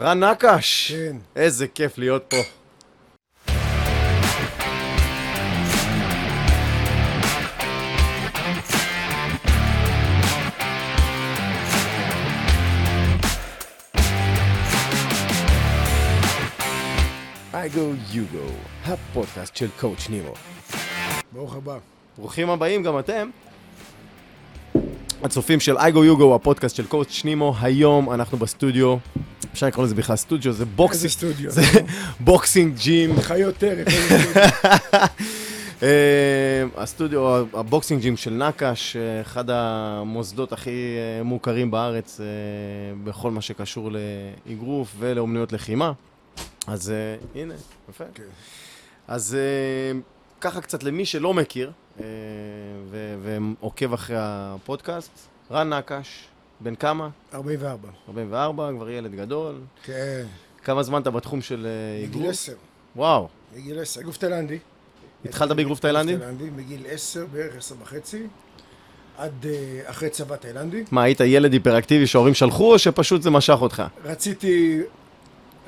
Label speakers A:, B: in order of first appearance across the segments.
A: רן נקש!
B: כן.
A: איזה כיף להיות פה.
C: I go, you go, הפודקאסט של קואוצ' נימו.
B: ברוך הבא.
A: ברוכים הבאים גם אתם. הצופים של I Go You Go, הפודקאסט של קואוצ' שנימו, היום אנחנו בסטודיו, אפשר לקרוא לזה בכלל סטודיו, זה
B: איזה
A: בוקסינג,
B: סטודיו.
A: זה בוקסינג ג'ים,
B: חיות טרף. איזה סטודיו.
A: אה, הסטודיו, הבוקסינג ג'ים של נקש, אה, אחד המוסדות הכי אה, מוכרים בארץ אה, בכל מה שקשור לאגרוף ולאומנויות לחימה. אז אה, הנה, יפה.
B: כן.
A: אז אה, ככה קצת למי שלא מכיר אה, ו- ועוקב אחרי הפודקאסט, רן נקש, בן כמה?
B: 44.
A: 44, כבר ילד גדול.
B: כן.
A: כמה זמן אתה בתחום של אה,
B: מגיל
A: אגרוף?
B: 10.
A: וואו,
B: מגיל 10. אגרוף תאילנדי.
A: התחלת
B: אה,
A: באגרוף תאילנדי?
B: תאילנדי מגיל 10, בערך 10 וחצי, עד אה, אחרי צבא תאילנדי.
A: מה, היית ילד היפראקטיבי שההורים שלחו, או שפשוט זה משך אותך?
B: רציתי...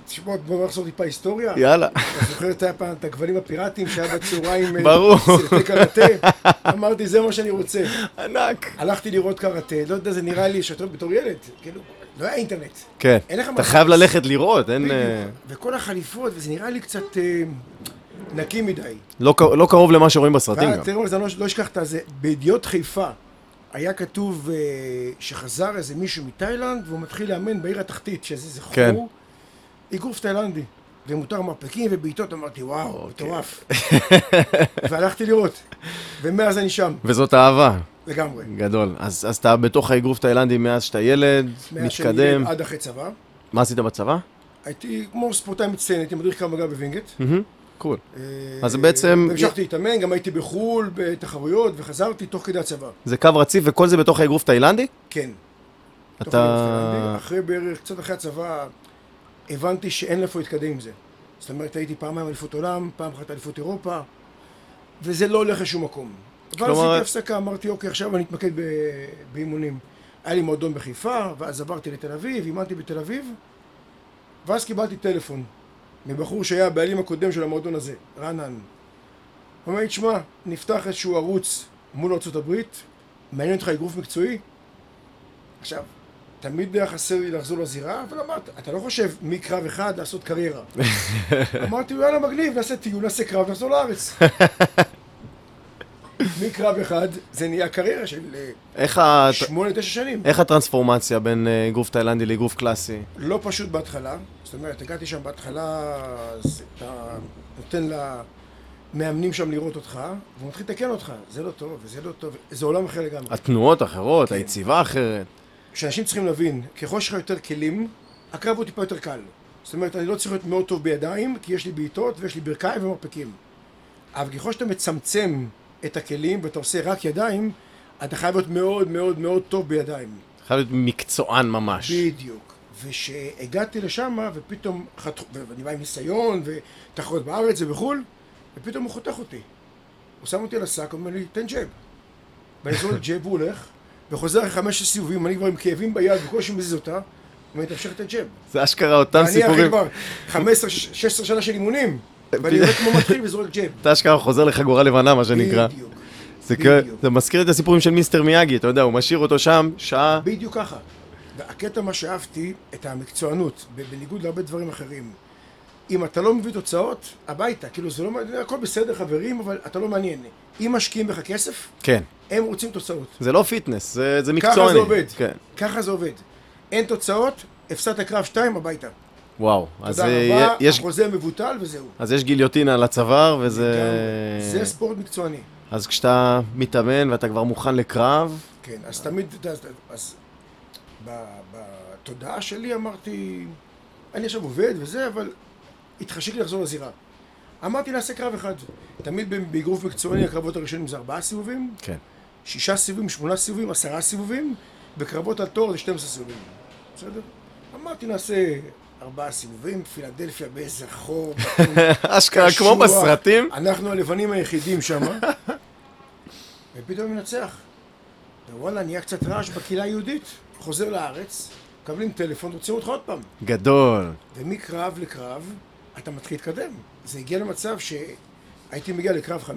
B: תשמעו, בואו נחזור טיפה היסטוריה.
A: יאללה.
B: אתה זוכר את ה- את הכבלים הפיראטיים שהיה בצהריים? אה,
A: ברור.
B: סרטי קראטה? אמרתי, זה מה שאני רוצה.
A: ענק.
B: הלכתי לראות קראטה, לא יודע, זה נראה לי שאתה בתור ילד, כאילו, לא היה אינטרנט.
A: כן.
B: אין לך מה
A: אתה חייב
B: לחפש.
A: ללכת לראות, אין... אה,
B: בדיוק. וכל החליפות, וזה נראה לי קצת אה, נקי מדי.
A: לא ק- לא קרוב למה שרואים בסרטים גם.
B: והטרור הזה, אני לא- לא אשכח את זה, בידיעות חיפה היה כתוב אה, שחזר איזה מישהו מתאילנד והוא מתחיל לאמן בעיר התחתית, שזה איזה
A: כן.
B: חור, אגרוף תאילנדי, ומותר מרפקים ובעיטות, אמרתי
A: אוקיי."
B: וואו, מטורף. והלכתי לראות, ומאז אני שם,
A: וזאת אהבה.
B: לגמרי.
A: גדול. אז אז אתה בתוך האגרוף תאילנדי מאז שאתה ילד,
B: מאז שאני
A: מתקדם.
B: ילד עד אחרי צבא.
A: מה עשית בצבא?
B: הייתי כמו ספורטאי מצטיין, הייתי מדריך קרב מגע בווינגייט.
A: קול.
B: אה,
A: אז בעצם-
B: המשכתי להתאמן, גם הייתי בחו"ל, בתחרויות, וחזרתי תוך כדי הצבא.
A: זה קו רציף וכל זה בתוך האגרוף תאילנדי?
B: כן. תוך כדי
A: אתה...
B: הצבא. אחרי בערך, קצת אחרי הצבא, הבנתי שאין לאיפה להתקדם עם זה. זאת אומרת, הייתי פעמיים אליפות עולם, פעם אחת אליפות אירופה, וזה לא הולך לשום מקום. אבל
A: כלומר-
B: עשיתי הפסקה, אמרתי, אוקיי, עכשיו אני אתמקד ב- באימונים. היה לי מועדון בחיפה, ואז עברתי לתל אביב, אימנתי בתל אביב, ואז קיבלתי טלפון מבחור שהיה הבעלים הקודם של המועדון הזה, רענן. הוא אומר לי, תשמע, נפתח איזשהו ערוץ מול ארה"ב, מעניין אותך אגרוף מקצועי? עכשיו, תמיד היה חסר לי לחזור לזירה, אבל אמרת, אתה לא חושב מקרב אחד לעשות קריירה. אמרתי לו, יאללה, מגניב, נעשה טיול, נעשה קרב, נחזור לארץ. מקרב אחד, זה נהיה קריירה של אה,
A: איך ה-
B: שמונה, תשע שנים.
A: איך הטרנספורמציה בין אה, אגרוף תאילנדי לאגרוף קלאסי?
B: לא פשוט בהתחלה, זאת אומרת, הגעתי שם בהתחלה, אז אתה נותן למאמנים שם לראות אותך, והוא מתחיל לתקן אותך, זה לא טוב, וזה לא טוב, זה עולם אחר לגמרי.
A: התנועות אחרות,
B: כן.
A: היציבה אחרת.
B: שאנשים צריכים להבין, ככל שיש לך יותר כלים, הקרב הוא טיפה יותר קל. זאת אומרת, אני לא צריך להיות מאוד טוב בידיים, כי יש לי בעיטות ויש לי ברכיים ומרפקים. אבל ככל שאתה מצמצם את הכלים ואתה עושה רק ידיים, אתה חייב להיות מאוד מאוד מאוד טוב בידיים.
A: חייב להיות מקצוען ממש.
B: בדיוק. ושהגעתי לשם, ופתאום חתכו, ואני בא עם ניסיון, ותחרות בארץ ובחו"ל, ופתאום הוא חותך אותי. הוא שם אותי על השק, הוא אומר לי, תן ג'ב. ואני זורק ג'ב, הוא הולך, וחוזר אחרי חמש סיבובים, אני כבר עם כאבים ביד, בקושי מזיז אותה, הוא אומר, תמשיך לתת ג'ב.
A: זה אשכרה אותם
B: אני אחרי
A: סיפורים.
B: כבר 15, 16 שנה של אימונים, ואני עובד כמו מתחיל וזורק ג'ב.
A: אתה אשכרה חוזר לחגורה לבנה, מה שנקרא.
B: בדיוק.
A: זה,
B: בדיוק.
A: כאילו- זה מזכיר את הסיפורים של מיסטר מיאגי, אתה יודע, הוא משאיר אותו שם שעה.
B: בדיוק ככה. והקטע מה שאהבתי, את המקצוענות, ב- בניגוד להרבה דברים אחרים. אם אתה לא מביא תוצאות, הביתה. כאילו זה לא מעניין, הכל בסדר חברים, אבל אתה לא מעניין. אם משקיעים בך כסף,
A: כן.
B: הם רוצים תוצאות.
A: זה לא פיטנס, זה, זה מקצועני.
B: ככה זה עובד.
A: כן.
B: ככה זה עובד. אין תוצאות, הפסדת קרב שתיים הביתה.
A: וואו. אז,
B: תודה
A: אה,
B: רבה,
A: יש,
B: החוזה מבוטל וזהו.
A: אז יש גיליוטינה על הצוואר, וזה... אה,
B: גם זה ספורט מקצועני.
A: אז כשאתה מתאמן ואתה כבר מוכן לקרב,
B: כן, אז תמיד, אתה יודע, אז- אז ב- בתודעה שלי אמרתי, אני עכשיו עובד וזה, אבל התחשק לי לחזור לזירה. אמרתי נעשה קרב אחד. תמיד ב- באגרוף מקצועני הקרבות הראשונים זה ארבעה סיבובים,
A: כן.
B: שישה סיבובים, שמונה סיבובים, עשרה סיבובים, בקרבות על תואר זה 12 סיבובים. בסדר? אמרתי נעשה ארבעה סיבובים, פילדלפיה באיזה חור, בחור
A: אשכרה אה, כמו
B: קשוח.
A: בסרטים.
B: אנחנו הלבנים היחידים שם, ופתאום מנצח. ווואלה, נהיה קצת רעש בקהילה היהודית. חוזר לארץ, מקבלים טלפון, רוצים אותך עוד פעם.
A: גדול.
B: ומקרב לקרב, אתה מתחיל להתקדם. זה הגיע למצב שהייתי מגיע לקרב 5-6,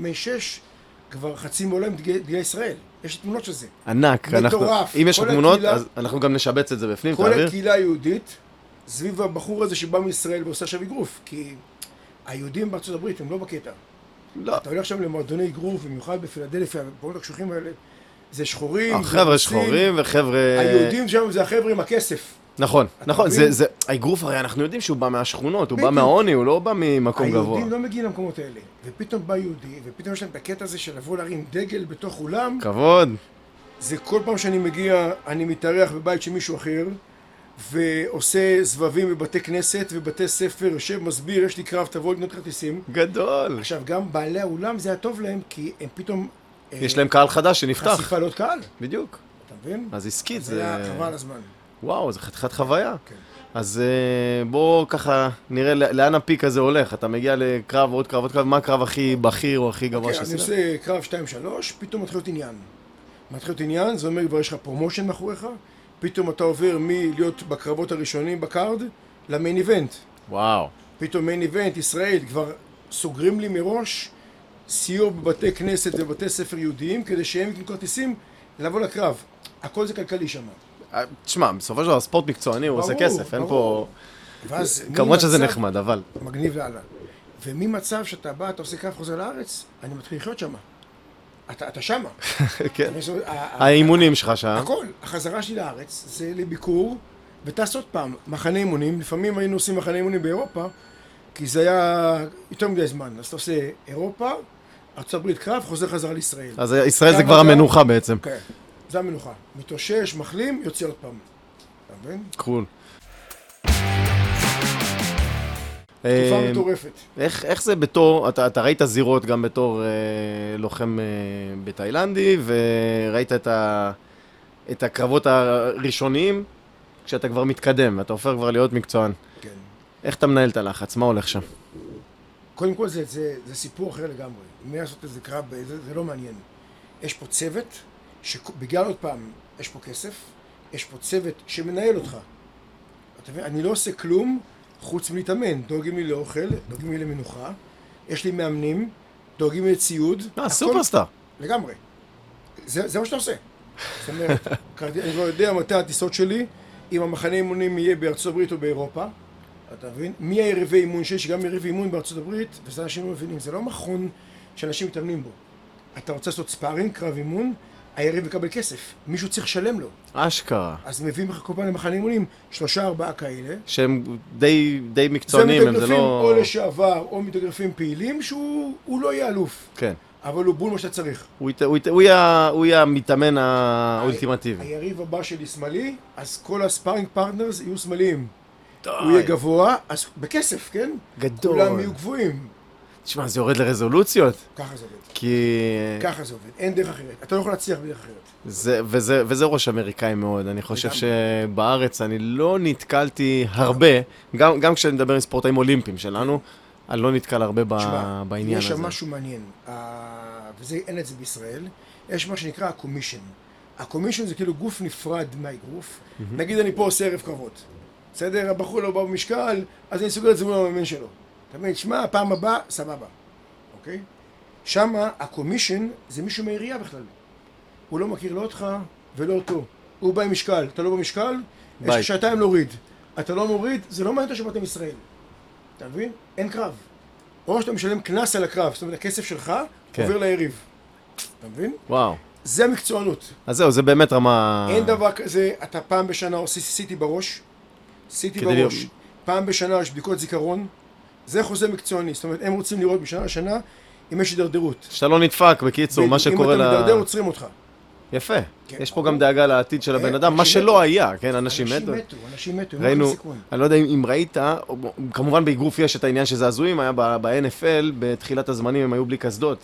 B: כבר חצי מעולם דגלי דגלי ישראל. יש לי תמונות של זה.
A: ענק. אנחנו-
B: מטורף.
A: אם יש לך
B: כל
A: תמונות,
B: הקהילה-
A: אז אנחנו גם נשבץ את זה בפנים,
B: כל
A: תעביר.
B: הקהילה היהודית, סביב הבחור הזה שבא מישראל ועושה עכשיו אגרוף, כי היהודים בארצות הברית הם לא בקטע.
A: לא.
B: אתה הולך עכשיו למועדוני אגרוף, במיוחד בפילדלפיה, במקומות הקשוחים האלה, זה שחורים, זה
A: אה, חבר'ה
B: רוסים.
A: שחורים אה, וחבר'ה...
B: היהודים שם זה החבר'ה עם הכסף.
A: נכון, נכון.
B: מבין?
A: זה, זה, האגרוף הרי אנחנו יודעים שהוא בא מהשכונות, הוא בא
B: בדיוק.
A: מהעוני, הוא לא בא ממקום גבוה.
B: היהודים לא מגיעים למקומות האלה. ופתאום בא יהודי, ופתאום יש להם את הקטע הזה של לבוא להרים דגל בתוך אולם.
A: כבוד.
B: זה כל פעם שאני מגיע, אני מתארח בבית של מישהו אחר, ועושה סבבים בבתי כנסת ובתי ספר, יושב, מסביר, יש לי קרב, תבוא לקנות כרטיסים.
A: גדול.
B: עכשיו, גם בעלי האולם זה היה טוב להם, כי הם פתאום... אה,
A: יש להם קהל חדש שנפתח.
B: חשיפה לעוד קהל,
A: בדיוק.
B: אתה מבין?
A: אז אה, עסקית
B: זה
A: זה...
B: היה חבל הזמן.
A: וואו, זה חתיכת חוויה.
B: כן.
A: אז אה, בוא ככה נראה ל- לאן הפיק הזה הולך. אתה מגיע לקרב, עוד קרב, עוד קרב, מה הקרב הכי בכיר או הכי גבוה
B: כן, אני
A: שעשית?
B: עושה קרב 2-3, פתאום מתחיל להיות עניין. מתחיל להיות עניין, זה אומר כבר יש לך פרומושן מאחוריך, פתאום אתה עובר מלהיות בקרבות הראשונים בקארד למיין איבנט.
A: וואו.
B: פתאום מיין איבנט, ישראל, כבר סוגרים לי מראש סיור בבתי כנסת ובתי ספר יהודיים כדי שהם יקנו כרטיסים לבוא לקרב. הכל זה כלכלי שם.
A: אה, תשמע, בסופו של דבר ספורט מקצועני, הוא עושה
B: ברור,
A: כסף, אין פה...
B: ברור. ואז
A: כמובן שזה
B: ממצב-
A: נחמד, אבל...
B: מגניב לאללה. וממצב שאתה בא, אתה עושה קרב חוזר לארץ, אני מתחיל לחיות שמה. אתה, אתה שמה.
A: כן.
B: אני עושה- ה- ה-
A: האימונים שלך שם.
B: הכל. החזרה שלי לארץ זה לביקור, וטס עוד פעם, מחנה אימונים. לפעמים היינו עושים מחנה אימונים באירופה, כי זה היה יותר מדי זמן. אז אתה עושה אירופה, ארה"ב קרב, חוזר חזרה לישראל.
A: אז אה, ישראל זה
B: גם
A: כבר
B: אתה-
A: המנוחה בעצם.
B: כן, זה המנוחה. מתאושש, מחלים, יוצא עוד פעם. אתה מבין?
A: קול.
B: תקופה
A: אה,
B: מטורפת.
A: איך, איך זה בתור, אתה, אתה ראית זירות גם בתור אה, לוחם אה, בתאילנדי, וראית את, ה, את הקרבות הראשוניים כשאתה כבר מתקדם, אתה הופך כבר להיות מקצוען.
B: כן.
A: איך אתה מנהל את הלחץ? מה הולך שם?
B: קודם כל זה, זה, זה סיפור אחר לגמרי. מי לעשות איזה קרב, זה, זה לא מעניין. יש פה צוות, שבגלל עוד פעם, יש פה כסף, יש פה צוות שמנהל אותך. אתה מבין? אני לא עושה כלום חוץ מלהתאמן. דואגים לי לאוכל, דואגים לי למנוחה, יש לי מאמנים, דואגים לי לציוד.
A: אה,
B: הכל-
A: סופרסטאר.
B: לגמרי. זה, זה מה שאתה עושה. זאת אומרת, קרדי- אני כבר יודע מתי הטיסות שלי, אם המחנה אימונים יהיה בארצות הברית או באירופה, אתה מבין? מי היריבי אימון שיש, גם יריב אימון בארצות הברית, וזה אנשים לא מבינים, זה לא מכון שאנשים מתאמנים בו. אתה רוצה לעשות ספארינג, קרב אימון, היריב מקבל כסף, מישהו צריך לשלם לו.
A: אשכרה.
B: אז מביאים לך כל פעם למחנה אימונים שלושה ארבעה כאלה.
A: שהם די, די
B: זה
A: מקצוענים, הם זה
B: מתאגרפים
A: לא...
B: או לשעבר או מתאגרפים פעילים שהוא הוא לא יהיה אלוף,
A: כן.
B: אבל הוא בול מה שאתה צריך.
A: הוא ית- הוא ית- הוא יהיה- הוא יהיה המתאמן האולטימטיבי.
B: היריב הבא שלי שמאלי, אז כל הספארינג פרטנרס יהיו שמאליים. הוא יהיה גבוה, אז בכסף, כן?
A: גדול.
B: כולם יהיו גבוהים.
A: תשמע, זה יורד לרזולוציות.
B: ככה זה עובד.
A: כי...
B: ככה זה עובד. אין דרך אחרת. אתה לא יכול להצליח בדרך אחרת.
A: זה, וזה, וזה ראש אמריקאי מאוד, אני חושב
B: לגמרי.
A: שבארץ אני לא נתקלתי הרבה, גם, גם כשאני מדבר עם ספורטאים אולימפיים שלנו, אני לא נתקל הרבה ב,
B: תשמע,
A: בעניין
B: יש
A: הזה.
B: שם משהו מעניין, אה, וזה, אין את זה בישראל, יש מה שנקרא הקומישן. הקומישן זה כאילו גוף נפרד מהאגרוף. נגיד אני פה עושה ערב קרבות, בסדר? הבחור לא בא במשקל, אז אני סוגר את זה מול המאמן שלו. אתה מבין, שמע, פעם הבאה, סבבה, אוקיי? שמה הקומישן זה מישהו מהעירייה בכלל. הוא לא מכיר לא אותך ולא אותו. הוא בא עם משקל, אתה לא במשקל, יש
A: ביי.
B: לך שעתיים להוריד. אתה לא מוריד, זה לא מעניין אותו שבאת מישראל. אתה מבין? אין קרב. או שאתה משלם קנס על הקרב, זאת אומרת, הכסף שלך
A: כן.
B: עובר ליריב. אתה מבין?
A: וואו.
B: זה המקצוענות.
A: אז זהו, זה באמת רמה...
B: אין דבר כזה, אתה פעם בשנה עושה סיטי בראש, סיטי
A: כדי
B: בראש,
A: להיות-
B: פעם בשנה יש בדיקות זיכרון, זה חוזה מקצועני, זאת אומרת, הם רוצים לראות משנה לשנה אם יש הידרדרות.
A: שאתה לא נדפק, בקיצור, מה שקורה
B: אם אתה
A: ל...
B: מידרדר, עוצרים אותך.
A: יפה.
B: כן,
A: יש פה
B: ברור.
A: גם דאגה לעתיד של הבן
B: אה,
A: אדם, מה
B: אנשים
A: שלא
B: מתו.
A: היה, כן, אנשים מתו.
B: אנשים מתו, הם לא
A: ראינו,
B: לוקחים סיכון.
A: אני לא יודע אם- אם ראית, או- כמובן באגרוף יש את העניין של זעזועים, היה ב- ב-NFL, בתחילת הזמנים הם היו בלי קסדות.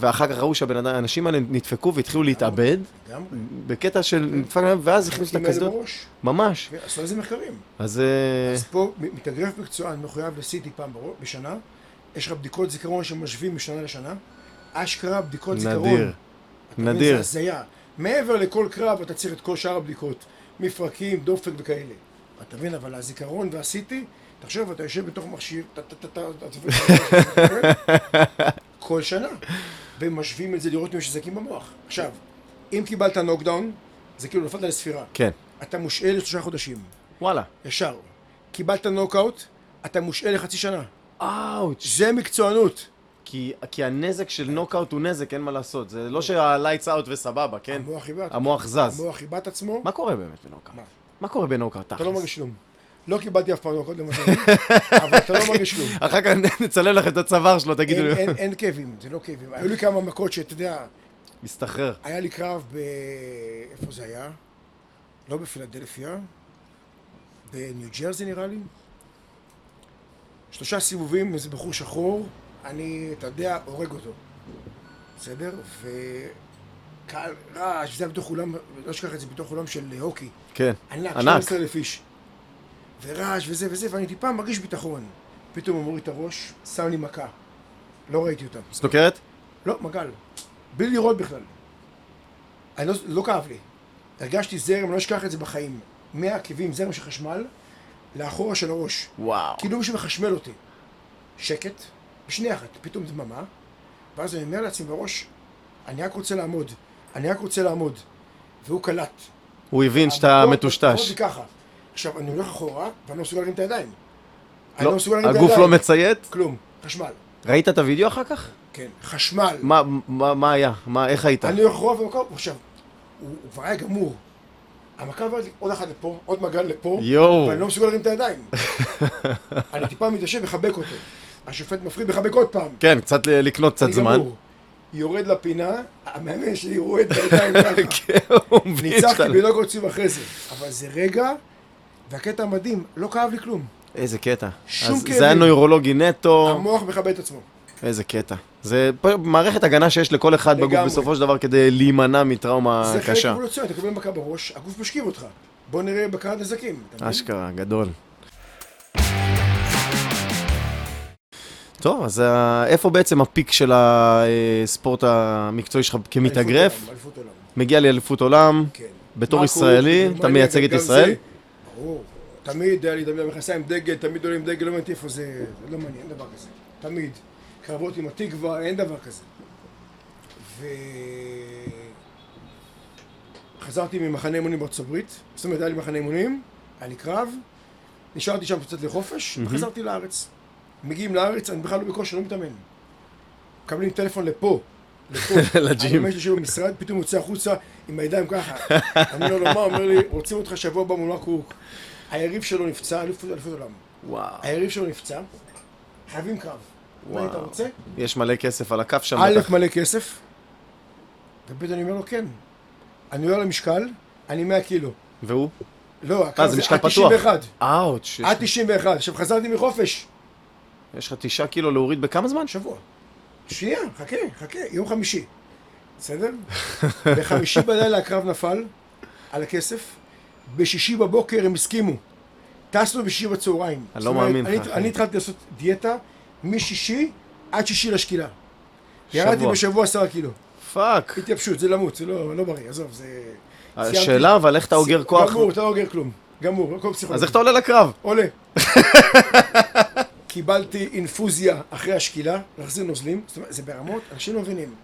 A: ואחר כך ראו שהבן אדם, האנשים האלה נדפקו והתחילו להתאבד,
B: לגמרי.
A: בקטע של נדפק להם, ואז הכניסו את
B: עם האלה
A: הקסדות.
B: בראש,
A: ממש.
B: ועשו כן, על זה מחקרים.
A: אז אה,
B: אז פה מ- מתאגרף מקצוען מחויב לסיטי פעם ברו- בשנה, יש לך בדיקות זיכרון שמשווים משנה לשנה, אשכרה בדיקות זיכרון.
A: נדיר.
B: אתה מבין?
A: נדיר.
B: זה הזיה. מעבר לכל קרב אתה צריך את כל שאר הבדיקות, מפרקים, דופק וכאלה. אתה מבין, אבל הזיכרון והסיטי, תחשוב, אתה יושב בתוך מכשיר, טה, טה, טה, טה, אתה צופה- כל שנה, ומשווים את זה לראות אם יש נזקים במוח. עכשיו, אם קיבלת נוקדאון, זה כאילו נפלת לספירה.
A: כן.
B: אתה מושעה לשלושה חודשים,
A: וואלה.
B: ישר. קיבלת נוקאוט, אתה מושעה לחצי שנה.
A: אאוץ'.
B: זה מקצוענות.
A: כי, כי הנזק של נוקאוט הוא נזק, אין מה לעשות. זה לא שה-lights out וסבבה, כן?
B: המוח איבד.
A: המוח זז.
B: המוח איבד את עצמו,
A: מה קורה באמת בנוקאוט?
B: מה?
A: מה קורה בנוקאוט?
B: אתה לא
A: תכלס?
B: מרגיש כלום. לא קיבלתי אף פעם נוקאוט למשל, אבל אתה לא מרגיש כלום.
A: אחר כך נצלם לכם את הצוואר שלו, תגידו
B: אין,
A: לי.
B: אין, אין כאבים, זה לא כאבים. היו לי כמה מכות שאתה יודע,
A: מסתחרר.
B: היה לי קרב ב... איפה זה היה? לא בפילדלפיה, בניו ג'רזי נראה לי. שלושה סיבובים, איזה בחור שחור, אני, אתה יודע, הורג אותו. בסדר? וקהל רעש, זה היה בתוך אולם, לא אשכח את זה, בתוך אולם של הוקי.
A: כן.
B: ענק,
A: ענק.
B: 12,000 איש. ורעש וזה וזה, ואני טיפה מרגיש ביטחון. פתאום אמרו לי את הראש, שם לי מכה. לא ראיתי אותם.
A: סנוקרת?
B: לא, מגל. בלי לראות בכלל. אני לא, לא כאב לי. הרגשתי זרם, לא אשכח את זה בחיים. מהעקבים, זרם של חשמל, לאחורה של הראש.
A: וואו.
B: כאילו מישהו מחשמל אותי. שקט, בשנייה אחת, פתאום דממה, ואז אני אומר לעצמי בראש, אני רק רוצה לעמוד, אני רק רוצה לעמוד. והוא קלט.
A: הוא הבין שאתה
B: המקום- המקום זה
A: מטושטש.
B: ככה. עכשיו, אני הולך אחורה, ואני לא מסוגל להרים את הידיים. אני
A: לא,
B: לא מסוגל להרים את הידיים.
A: הגוף לא מציית?
B: כלום, חשמל.
A: ראית את הוידאו אחר כך?
B: כן, חשמל.
A: מה- מה מה היה? מה- איך היית?
B: אני הולך רוב במקום, עכשיו, הוא הוא כבר היה גמור. המכה עברה לי עוד אחת לפה, עוד מעגל לפה,
A: יואו.
B: ואני לא מסוגל להרים את הידיים. אני טיפה מתיישב מחבק אותו. השופט מפריד מחבק עוד פעם.
A: כן, קצת ל- לקנות קצת
B: אני
A: זמן.
B: גמור. יורד לפינה, המאמן שלי רואה את הידיים ככה.
A: כן, הוא מבין
B: ניצחתי
A: שאתה-
B: בלא רוצים אחרי זה. אבל זה רגע, והקטע המדהים, לא כאב לי כלום.
A: איזה קטע.
B: שום
A: אז זה
B: כאבים.
A: היה נוירולוגי נטו.
B: המוח מכבד את עצמו.
A: איזה קטע. זה פ- מערכת הגנה שיש לכל אחד בגוף
B: לגמרי.
A: בסופו של דבר כדי להימנע מטראומה
B: זה חלק
A: אה, קשה.
B: אבולוציוני, אתה קובע מכה בראש, הגוף משכיב אותך. בוא נראה בקרה נזקים. אתה מבין?
A: אשכרה, גדול. טוב, אז אה, איפה בעצם הפיק של הספורט המקצועי שלך
B: אליפות
A: כמתאגרף?
B: עולם, אליפות עולם,
A: מגיע לאליפות עולם,
B: כן.
A: בתור
B: מה
A: ישראלי,
B: קורה?
A: אתה
B: גרמניה,
A: מייצג את
B: גם
A: ישראל?
B: זה- ברור. תמיד היה לי דמיון מכנסיים עם דגל, תמיד עולה עם דגל, לא מעניין איפה זה, זה לא מעניין, אין דבר כזה. תמיד. קרבות עם התקווה, אין דבר כזה. ו... חזרתי ממחנה אימונים בארצות הברית, זאת אומרת, היה לי מחנה אימונים, היה לי קרב, נשארתי שם קצת לחופש, וחזרתי לארץ. מגיעים לארץ, אני בכלל לא בכושר, לא מתאמן. מקבלים טלפון לפה, לפה.
A: לג'ים.
B: אני ממש יושב במשרד, פתאום יוצא החוצה עם הידיים ככה. אני אומר לו, מה? אומר לי, רוצים אותך שבוע הבא מול הקורק. היריב שלו נפצע, אליפות אליפות עולם.
A: וואו.
B: היריב שלו נפצע, חייבים קרב. מה אתה
A: וואו.
B: רוצה?
A: יש מלא כסף על הכף שם.
B: א',
A: בטח.
B: מלא כסף, וב', אני אומר לו, כן. אני עולה למשקל, אני 100 קילו.
A: והוא?
B: לא, הקרב
A: אה, זה משקל פתוח.
B: עד 91.
A: אאוץ'. יש-
B: עד 91. עכשיו, חזרתי מחופש.
A: יש לך תשעה קילו להוריד בכמה זמן?
B: שבוע. שנייה, חכה, חכה, יום חמישי. בסדר? בחמישי בלילה הקרב נפל על הכסף, בשישי בבוקר הם הסכימו. טסנו בשישי בצהריים.
A: אני
B: זאת
A: לא
B: אומרת,
A: מאמין
B: אני-
A: לך, אחי.
B: אני התחלתי לעשות דיאטה משישי עד שישי לשקילה. ירדתי
A: שבוע.
B: בשבוע עשרה קילו.
A: פאק.
B: התייבשות, זה למות, זה לא לא בריא, עזוב, זה... סיימתי.
A: השאלה, אבל איך אה, אתה אוגר כוח?
B: גמור, אתה לא אוגר כלום. גמור, הכל פסיכולוגי.
A: אז איך אתה עולה לקרב?
B: עולה. קיבלתי אינפוזיה אחרי השקילה, להחזיר נוזלים, זאת אומרת, זה ברמות, אנשים לא מבינים.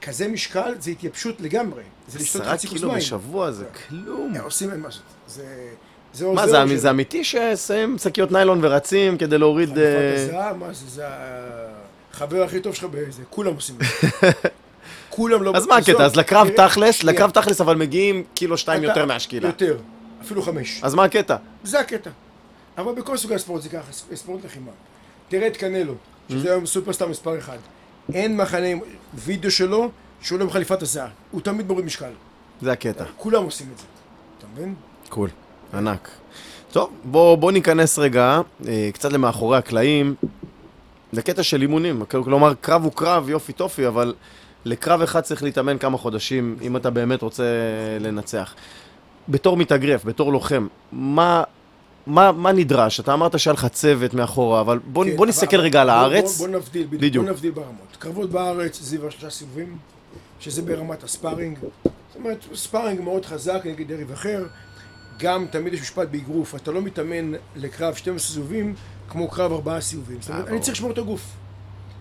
B: כזה משקל זה התייבשות לגמרי. זה לשתות
A: עשרה
B: חצי כוס
A: קילו
B: מים.
A: בשבוע זה כלום.
B: הם עושים אין משהו. זה... זה עוזר.
A: מה, זה,
B: של-
A: זה, זה אמיתי ששמים שקיות ניילון ורצים כדי להוריד...
B: חליפת
A: אה,
B: הזהב, מה זה, זה החבר הכי טוב שלך באיזה, כולם עושים את זה. כולם לא...
A: אז מה
B: עזוב,
A: הקטע? אז לקרב
B: תראה,
A: תכלס,
B: שנייה,
A: לקרב תכלס אבל מגיעים קילו שתיים
B: אתה-
A: יותר מהשקילה.
B: יותר, אפילו חמש.
A: אז מה הקטע?
B: זה הקטע. אבל בכל סוגי הספורט זה ככה, ס- ספורט לחימה. תראה את קנלו, שזה היום סופרסטאר מספר אחד. אין מחנה עם וידאו שלו שהוא עולה בחליפת הזעה. הוא תמיד מוריד משקל.
A: זה הקטע.
B: כולם עושים את זה. אתה מבין?
A: קול. ענק. טוב, בוא, בוא ניכנס רגע אה, קצת למאחורי הקלעים, לקטע של אימונים. כל- כלומר, קרב הוא קרב, יופי טופי, אבל לקרב אחד צריך להתאמן כמה חודשים, אם אתה באמת רוצה לנצח. בתור מתאגרף, בתור לוחם, מה... מה, מה נדרש? אתה אמרת שהיה לך צוות מאחורה, אבל בוא,
B: כן,
A: בוא
B: אבל-
A: נסתכל רגע על
B: בוא-
A: הארץ.
B: בוא, בוא נבדיל, בדיוק.
A: בדיוק.
B: בוא נבדיל ברמות. קרבות בארץ, סביב השלושה סיבובים, שזה ברמת הספארינג. זאת אומרת, ספארינג מאוד חזק נגד יריב אחר. גם תמיד יש משפט באגרוף, אתה לא מתאמן לקרב 12 סיבובים כמו קרב 4 סיבובים. זאת אומרת,
A: אה,
B: אני
A: ברור.
B: צריך לשמור את הגוף,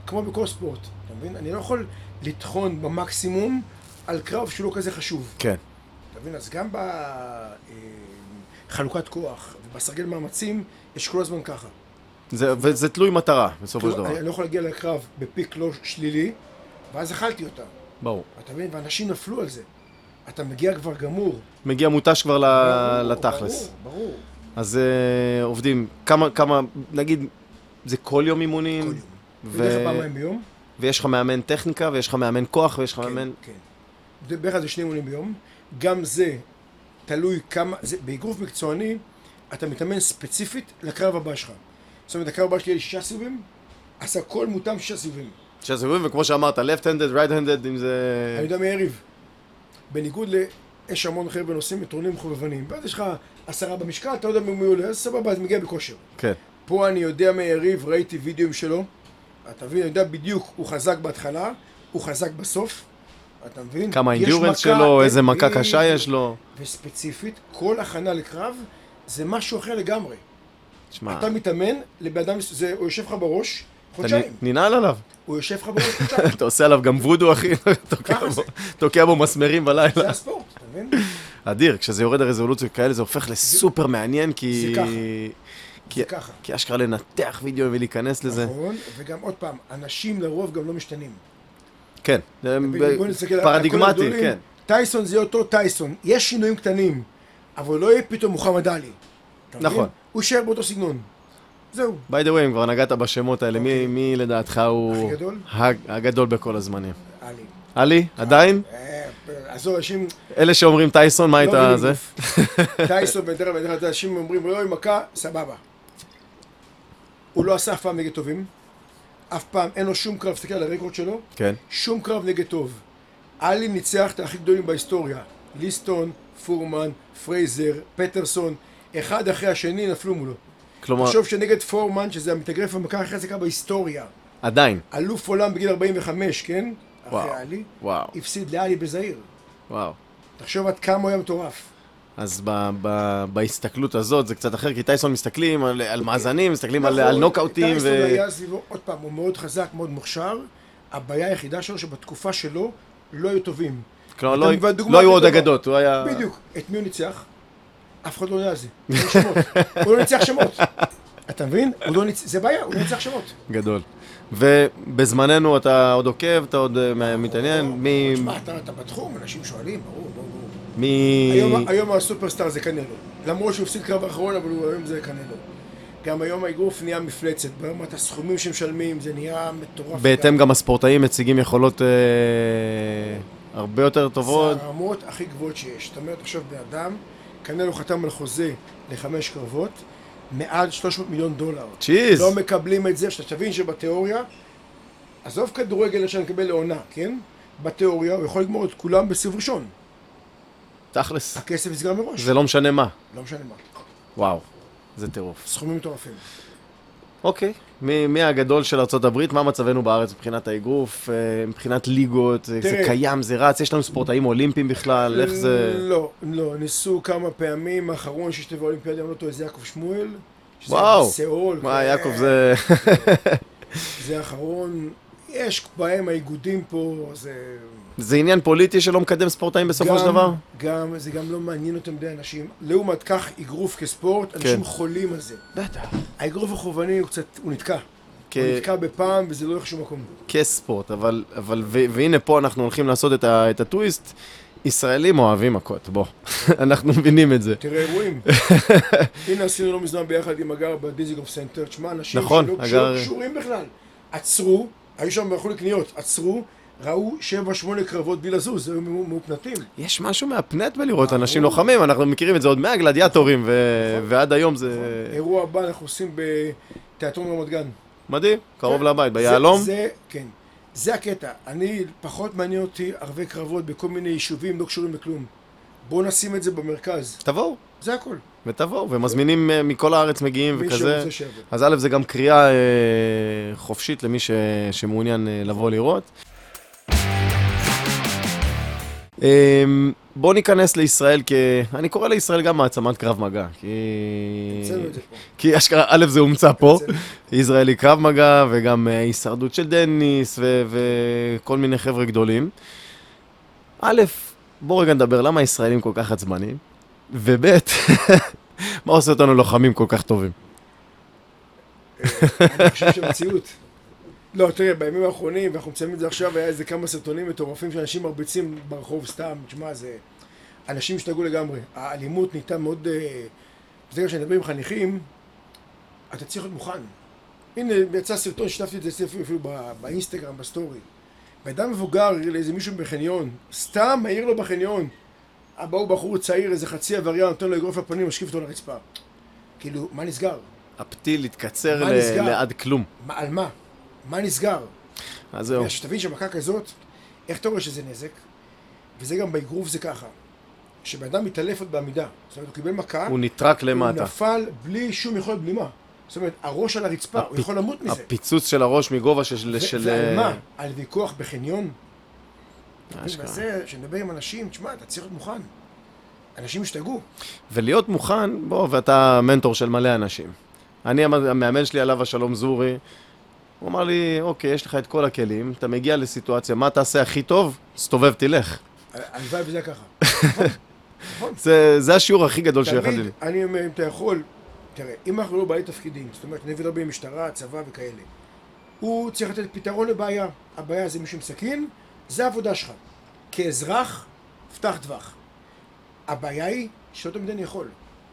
B: כמו בכל ספורט, אתה מבין? אני לא יכול לטחון במקסימום על קרב שהוא לא כזה חשוב.
A: כן.
B: אתה מבין? אז גם בחלוקת כוח ובסרגל מאמצים, יש כל הזמן ככה.
A: זה, וזה תלוי מטרה, בסופו של
B: כלומר,
A: דבר.
B: אני לא יכול להגיע לקרב בפיק לא שלילי, ואז אכלתי אותה.
A: ברור.
B: אתה מבין? ואנשים נפלו על זה. אתה מגיע כבר גמור.
A: מגיע מותש כבר ל-
B: ברור,
A: אה, לתכלס.
B: ברור, ברור.
A: אז אה, עובדים, כמה, כמה, נגיד, זה כל יום אימונים?
B: כל יום.
A: ו- כן,
B: בדרך כלל פעמיים ביום.
A: ויש לך מאמן טכניקה, ויש לך מאמן כוח, ויש לך מאמן...
B: כן. זה בדרך כלל זה שני אימונים ביום. גם זה תלוי כמה... זה, באגרוף מקצועני, אתה מתאמן ספציפית לקרב הבא שלך. זאת אומרת, הקרב הבא שלי היה שישה סיבובים, עשה כל מותם שישה סיבובים.
A: שישה סיבובים, וכמו שאמרת, left-handed, right-handed, אם זה...
B: אני יודע מי היריב. בניגוד ל... יש המון חבר'ה נוסעים מטרונים חובבנים. ואז יש לך עשרה במשקל, אתה לא יודע מי עולה, אז סבבה, אתה מגיע בכושר.
A: כן.
B: פה אני יודע מהיריב, ראיתי וידאוים שלו. אתה מבין, אני יודע בדיוק, הוא חזק בהתחלה, הוא חזק בסוף. אתה מבין?
A: כמה
B: יש
A: אינדיורנס
B: מכה,
A: שלו,
B: אין-
A: איזה מכה
B: בדיוק.
A: קשה יש לו.
B: וספציפית, כל הכנה לקרב זה משהו אחר לגמרי.
A: תשמע,
B: אתה מתאמן לבן אדם, זה- הוא יושב לך בראש
A: אתה
B: חודשיים.
A: נ- ננעל עליו.
B: הוא יושב לך בראש חודשיים.
A: אתה עושה עליו גם וודו, אחי, תוקע
B: ככה זה.
A: בו- תוקע בו מסמרים
B: זה
A: בלילה.
B: הספורט, אתה מבין?
A: אדיר, כשזה יורד לרזולוציות כאלה, זה הופך לסופר מעניין, כי...
B: זה ככה.
A: כי-
B: זה ככה.
A: כי אשכרה לנתח וידאו ולהיכנס לזה.
B: נכון, וגם עוד פעם, אנשים לרוב גם לא משתנים.
A: כן. זה
B: בוא נסתכל על- על כל
A: פרדיגמטי,
B: הגדולים.
A: כן.
B: טייסון זה אותו טייסון, יש שינויים קטנים, אבל לא יהיה פתאום מוחמד עלי. אתה מבין?
A: נכון.
B: הוא יישאר באותו סגנון. זהו.
A: ביי דה ווי, אם כבר נגעת בשמות האלה, מי-
B: אוקיי.
A: מי לדעתך הוא...
B: הכי גדול?
A: הג- הגדול בכל הזמנים.
B: עלי.
A: עלי, עדיין?
B: אה, עזוב, אנשים...
A: אלה שאומרים טייסון, מה
B: לא
A: הייתה
B: מבינים
A: זה?
B: גוף. טייסון בדרך כלל בדרך כלל אנשים אומרים, לא, עם מכה, סבבה. הוא לא עשה אף פעם נגד טובים. אף פעם, אין לו שום קרב, תסתכל על הרקורד שלו,
A: כן.
B: שום קרב נגד טוב. עלי ניצח את הכי גדולים בהיסטוריה. ליסטון, פורמן, פרייזר, פטרסון, אחד אחרי השני נפלו מולו.
A: כלומר,
B: תחשוב שנגד פורמן, שזה המתאגרף המכה הכי חזקה בהיסטוריה,
A: עדיין.
B: אלוף עולם בגיל 45, כן?
A: וואו.
B: אחרי עלי,
A: וואו,
B: הפסיד לעלי בזעיר.
A: וואו.
B: תחשוב עד כמה הוא היה מטורף.
A: אז ב, ב, בהסתכלות הזאת זה קצת אחר, כי טייסון מסתכלים על, על מאזנים, מסתכלים על, על
B: אוקיי. נכון,
A: נוקאוטים, ו...
B: טייסון היה סביבו, עוד פעם, הוא מאוד חזק, מאוד מוכשר. הבעיה היחידה שלו שבתקופה שלו לא היו טובים.
A: כלומר,
B: אתם
A: לא,
B: והדוגמה
A: לא היו עוד
B: הכי טובה.
A: אגדות, הוא היה...
B: בדיוק. את מי הוא ניצח? אף אחד לא יודע על זה. אין שמות. הוא לא ניצח שמות. אתה מבין? הוא לא ניצ... זה בעיה, הוא לא ניצח שמות.
A: גדול. ובזמננו אתה עוד עוקב, אתה עוד אה, מה- מתעניין, מי...
B: תשמע, אתה אתה בתחום, אנשים שואלים, ברור, ברור. ברור.
A: מי...
B: היום- היום הסופרסטאר זה קנלו. למרות שהוא הפסיד קרב האחרון, אבל הוא היום זה קנלו. גם היום האגרוף נהיה מפלצת. ברמת הסכומים שמשלמים, זה נהיה מטורף.
A: בהתאם גם הספורטאים מציגים יכולות אה, הרבה יותר טובות.
B: זה הרמות הכי גבוהות שיש. זאת אומרת, עכשיו בן אדם, קנלו חתם על חוזה לחמש קרבות, מעל 300 מיליון דולר.
A: צ'יז.
B: לא מקבלים את זה, שאתה תבין שבתיאוריה, עזוב כדורגל שאני מקבל לעונה, כן? בתיאוריה הוא יכול לגמור את כולם בסיבוב ראשון.
A: תכלס,
B: הכסף נסגר מראש.
A: זה לא משנה מה.
B: לא משנה מה.
A: וואו, זה טירוף.
B: סכומים מטורפים.
A: אוקיי. מי, מי הגדול של ארה"ב, מה מצבנו בארץ מבחינת האגרוף, אה, מבחינת ליגות, תראה. זה
B: תראה.
A: קיים, זה רץ, יש לנו ספורטאים אולימפיים בכלל, איך זה...
B: לא, לא. ניסו כמה פעמים, האחרון שהשתתף באולימפיאדה, אם אני לא טועה, זה יעקב שמואל. שזה
A: וואו.
B: בסיאול.
A: מה,
B: כן.
A: יעקב, זה...
B: זה האחרון. יש בהם האיגודים פה, זה...
A: זה עניין פוליטי שלא מקדם ספורטאים בסופו
B: גם-
A: של דבר?
B: גם, זה גם לא מעניין אותם די אנשים. לעומת כך, אגרוף כספורט,
A: כן.
B: אנשים חולים על זה.
A: בטח.
B: האגרוף החובבני הוא קצת, הוא נתקע.
A: כ-
B: הוא נתקע בפעם וזה לא הולך לשום מקום.
A: כספורט, אבל, אבל ו, והנה פה אנחנו הולכים לעשות את, ה, את הטוויסט. ישראלים אוהבים מכות, בוא. אנחנו מבינים את זה.
B: תראה אירועים. הנה עשינו לא מזמן ביחד עם הגר בדיזיגוף סנטר. תשמע, אנשים
A: נכון,
B: שלא
A: הגר-
B: קשור- קשורים בכלל. עצרו, היו שם והלכו לקניות, עצרו, ראו שבע, שמונה קרבות בלי לזוז, היו מאופנתים.
A: יש משהו מהפנט בלראות אנשים לוחמים, אנחנו מכירים את זה עוד מהגלדיאטורים, ו- ועד היום זה
B: אירוע הבא אנחנו עושים בתיאטרון רמת גן.
A: מדהים, קרוב
B: כן.
A: לבית,
B: זה-
A: ביהלום.
B: זה, כן. זה הקטע. אני, פחות מעניין אותי ערבי קרבות בכל מיני יישובים לא קשורים לכלום. בואו נשים את זה במרכז.
A: תבואו.
B: זה הכל.
A: ותבואו, ומזמינים אה, מכל הארץ מגיעים
B: מי
A: וכזה.
B: שרוצה שיבוא.
A: אז א', זה גם קריאה אה, חופשית למי ש... שמעוניין אה, לבוא לראות. אמ, בוא ניכנס לישראל כ... אני קורא לישראל גם מעצמת קרב מגע, כי... אה,
B: המצאנו את זה פה.
A: כי אשכרה, א', זה הומצא פה,
B: המצאנו.
A: ישראלי קרב מגע, וגם אה, הישרדות של דניס, ו- וכל מיני חבר'ה גדולים. א', בוא רגע נדבר, למה הישראלים כל כך עצבניים? וב', מה עושה אותנו לוחמים כל כך טובים?
B: אני חושב שהמציאות... לא, תראה, בימים האחרונים, ואנחנו מציינים את זה עכשיו, היה איזה כמה סרטונים מטורפים של אנשים מרביצים ברחוב סתם, תשמע, זה... אנשים השתגעו לגמרי. האלימות נהייתה מאוד... אה, ברגע שאני מדבר עם חניכים, אתה צריך להיות מוכן. הנה, יצא סרטון, שיתפתי את זה אפילו- אפילו בא- באינסטגרם, בסטורי. ואדם מבוגר, איזה מישהו בחניון, סתם מעיר לו בחניון. באו בחור צעיר, איזה חצי עבריין, נותן לו אגרוף לפנים, משקיף אותו לרצפה. כאילו, מה נסגר?
A: הפתיל התקצר
B: מה
A: ל-
B: נסגר?
A: לעד כלום.
B: מה, על מה? מה
A: לא.
B: נסגר?
A: אז זהו.
B: יש, תבין שמכה כזאת, איך אתה רואה שזה נזק? וזה גם באגרוף זה ככה. כשבן אדם מתעלף עוד בעמידה, זאת אומרת, הוא קיבל מכה,
A: הוא נטרק
B: הוא
A: למטה.
B: נפל בלי שום יכולת בלימה. זאת אומרת, הראש על הרצפה, הוא
A: הפ-
B: יכול למות מזה.
A: הפיצוץ של הראש מגובה של...
B: ו-
A: של- אה,
B: ועל מה? על ויכוח בחניון?
A: אשכרה.
B: וזה, כשנדבר עם אנשים, תשמע, אתה צריך להיות מוכן. אנשים השתגעו.
A: ולהיות מוכן, בוא, ואתה מנטור של מלא אנשים. אני, המ- המאמן שלי עליו השלום זורי, הוא אמר לי, אוקיי, יש לך את כל הכלים, אתה מגיע לסיטואציה, מה תעשה הכי טוב? סתובב, תלך.
B: ה- הלוואי וזה היה ככה.
A: זה, זה השיעור הכי גדול שיחד לי.
B: תמיד, אני אומר, אם אתה יכול, תראה, אם אנחנו לא בעלי תפקידים, זאת אומרת, נגד הרבה משטרה, צבא וכאלה, הוא צריך לתת פתרון לבעיה. הבעיה זה מישהו עם סכין, זה העבודה שלך. כאזרח, פתח טווח. הבעיה היא שלא תמיד אני יכול.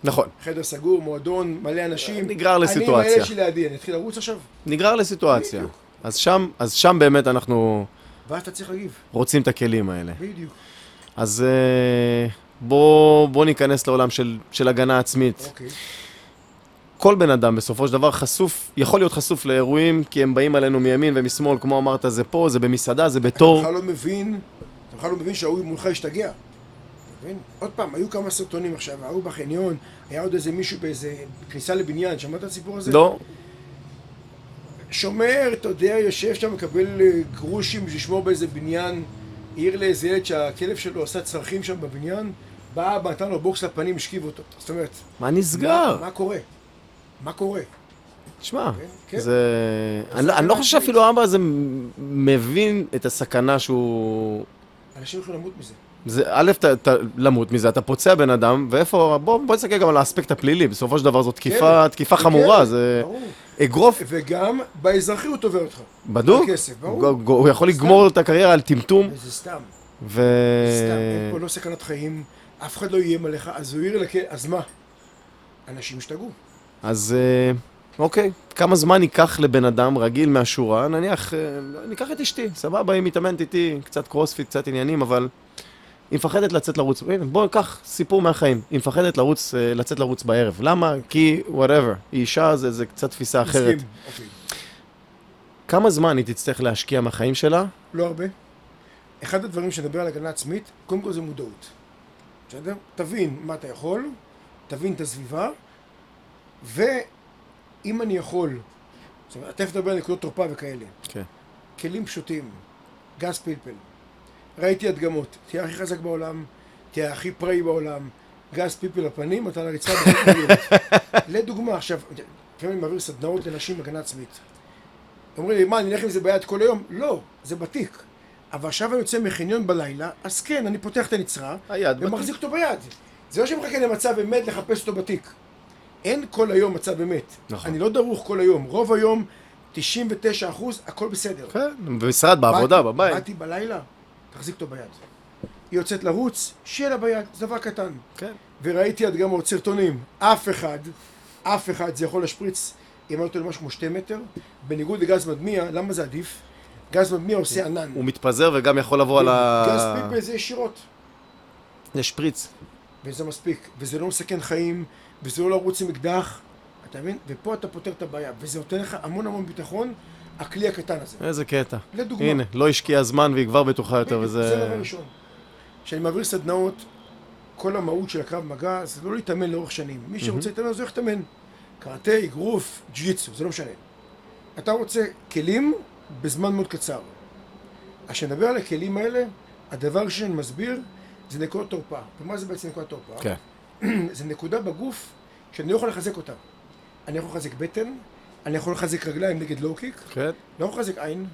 A: נכון,
B: חדר סגור, מועדון, מלא אנשים.
A: נגרר
B: אני עם
A: לסיטואציה.
B: הילד שלי לידי, אני אתחיל לרוץ עכשיו?
A: נגרר לסיטואציה. אז שם, אז שם באמת אנחנו
B: ואז אתה צריך להגיב.
A: רוצים את הכלים האלה.
B: בדיוק.
A: אז אה, בוא, בוא ניכנס לעולם של, של הגנה עצמית.
B: אוקיי.
A: כל בן אדם בסופו של דבר חשוף, יכול להיות חשוף לאירועים, כי הם באים עלינו מימין ומשמאל, כמו אמרת, זה פה, זה במסעדה, זה בתור.
B: אתה בכלל לא מבין, אתה בכלל לא מבין שההוא מולך השתגע. אתה מבין? עוד פעם, היו כמה סרטונים עכשיו, ההוא בחניון, היה עוד איזה מישהו באיזה כניסה לבניין, שמעת את הסיפור הזה?
A: לא,
B: שומר, אתה יודע, יושב שם, מקבל אה, גרושים בשביל לשמור באיזה בניין, העיר לאיזה ילד שהכלב שלו עשה צרכים שם בבניין, בא, אבא, נתן לו בוקס לפנים, השכיב אותו. זאת אומרת,
A: מה נסגר?
B: מה קורה? מה קורה?
A: תשמע,
B: כן.
A: זה... אני לא- אני לא חושב שאפילו אבא הזה מבין את הסכנה שהוא...
B: אנשים יכולים למות מזה.
A: זה, א', אתה, אתה למות מזה, אתה פוצע בן אדם, ואיפה, בוא, בוא נסתכל גם על האספקט הפלילי, בסופו של דבר זו תקיפה,
B: כן.
A: תקיפה
B: כן,
A: חמורה, זה
B: ברור.
A: אגרוף,
B: וגם באזרחי הוא תובע אותך.
A: בדוק,
B: כסף, ברור.
A: הוא- הוא הוא יכול לגמור את הקריירה על טמטום,
B: וזה סתם.
A: ו...
B: סתם,
A: אה,
B: אין פה לא סכנת חיים, אף אחד לא איים עליך, אז הוא העיר לכלא, אז מה? אנשים השתגעו.
A: אז אה, אוקיי, כמה זמן ייקח לבן אדם רגיל מהשורה, נניח, אה, ניקח את אשתי, סבבה, היא מתאמנת איתי, קצת קרוספיט, קצת עניינים, אבל היא מפחדת לצאת לרוץ, הנה, בוא ניקח סיפור מהחיים, היא מפחדת לרוץ, אה, לצאת לרוץ בערב, למה? כי וואטאבר, היא אישה, זה, זה קצת תפיסה אחרת.
B: מסכים, אוקיי.
A: כמה זמן היא תצטרך להשקיע מהחיים שלה?
B: לא הרבה. אחד הדברים שנדבר על הגנה עצמית, קודם כל זה מודעות. בסדר? תבין מה אתה יכול, תבין את הסביבה, ואם אני יכול, זאת אומרת, תכף נדבר על נקודות תורפה וכאלה.
A: כן.
B: כלים פשוטים, גז פלפל. ראיתי הדגמות, תהיה הכי חזק בעולם, תהיה הכי פראי בעולם, גז פלפל לפנים, אתה על הרצפה בחלקיות. לדוגמה, עכשיו, לפעמים אני מעביר סדנאות לנשים הגנה עצמית. אומרים לי, מה, אני אלך עם זה ביד כל היום? לא, זה בתיק. אבל עכשיו אני יוצא מחניון בלילה, אז כן, אני פותח את הנצרה,
A: היד
B: ומחזיק אותו ביד. זה לא שמחכה למצב אמת לחפש אותו בתיק. אין כל היום מצב אמת.
A: נכון.
B: אני לא דרוך כל היום. רוב היום, 99 אחוז, הכל בסדר.
A: כן, במשרד, בעבודה,
B: באתי-
A: בבית.
B: באתי בלילה, תחזיק אותו ביד. היא יוצאת לרוץ, שיהיה לה ביד, זה דבר קטן.
A: כן.
B: וראיתי עד גם עוד סרטונים, אף אחד, אף אחד, זה יכול להשפריץ, אם אני לא טועה, משהו כמו שתי מטר. בניגוד לגז מדמיע, למה זה עדיף? גז מדמיע עושה ענן.
A: הוא מתפזר וגם יכול לבוא
B: כן,
A: על ה...
B: גז פיפל זה ישירות.
A: יש פריץ.
B: וזה מספיק, וזה לא מסכן חיים, וזה לא לרוץ עם אקדח, אתה מבין? ופה אתה פותר את הבעיה, וזה נותן לך המון המון ביטחון, הכלי הקטן הזה.
A: איזה קטע.
B: לדוגמה.
A: הנה, לא השקיע זמן והיא כבר בטוחה יותר,
B: בדיוק, זה לא
A: וזה...
B: דבר ראשון. כשאני מעביר סדנאות, כל המהות של הקרב מגע זה לא להתאמן לאורך שנים. מי שרוצה להתאמן, אז הוא ילך להתאמן. קראטה, אגרוף, ג'יצו, זה לא משנה. אתה רוצה כלים בזמן מאוד קצר. אז כשנדבר על הכלים האלה, הדבר שאני מסביר זה נקודות תורפה. ומה זה בעצם נקודת תורפה?
A: כן.
B: זה נקודה בגוף שאני לא יכול לחזק אותה. אני יכול לחזק בטן, אני יכול לחזק רגליים נגד לואו קיק,
A: כן.
B: לא יכול לחזק עין.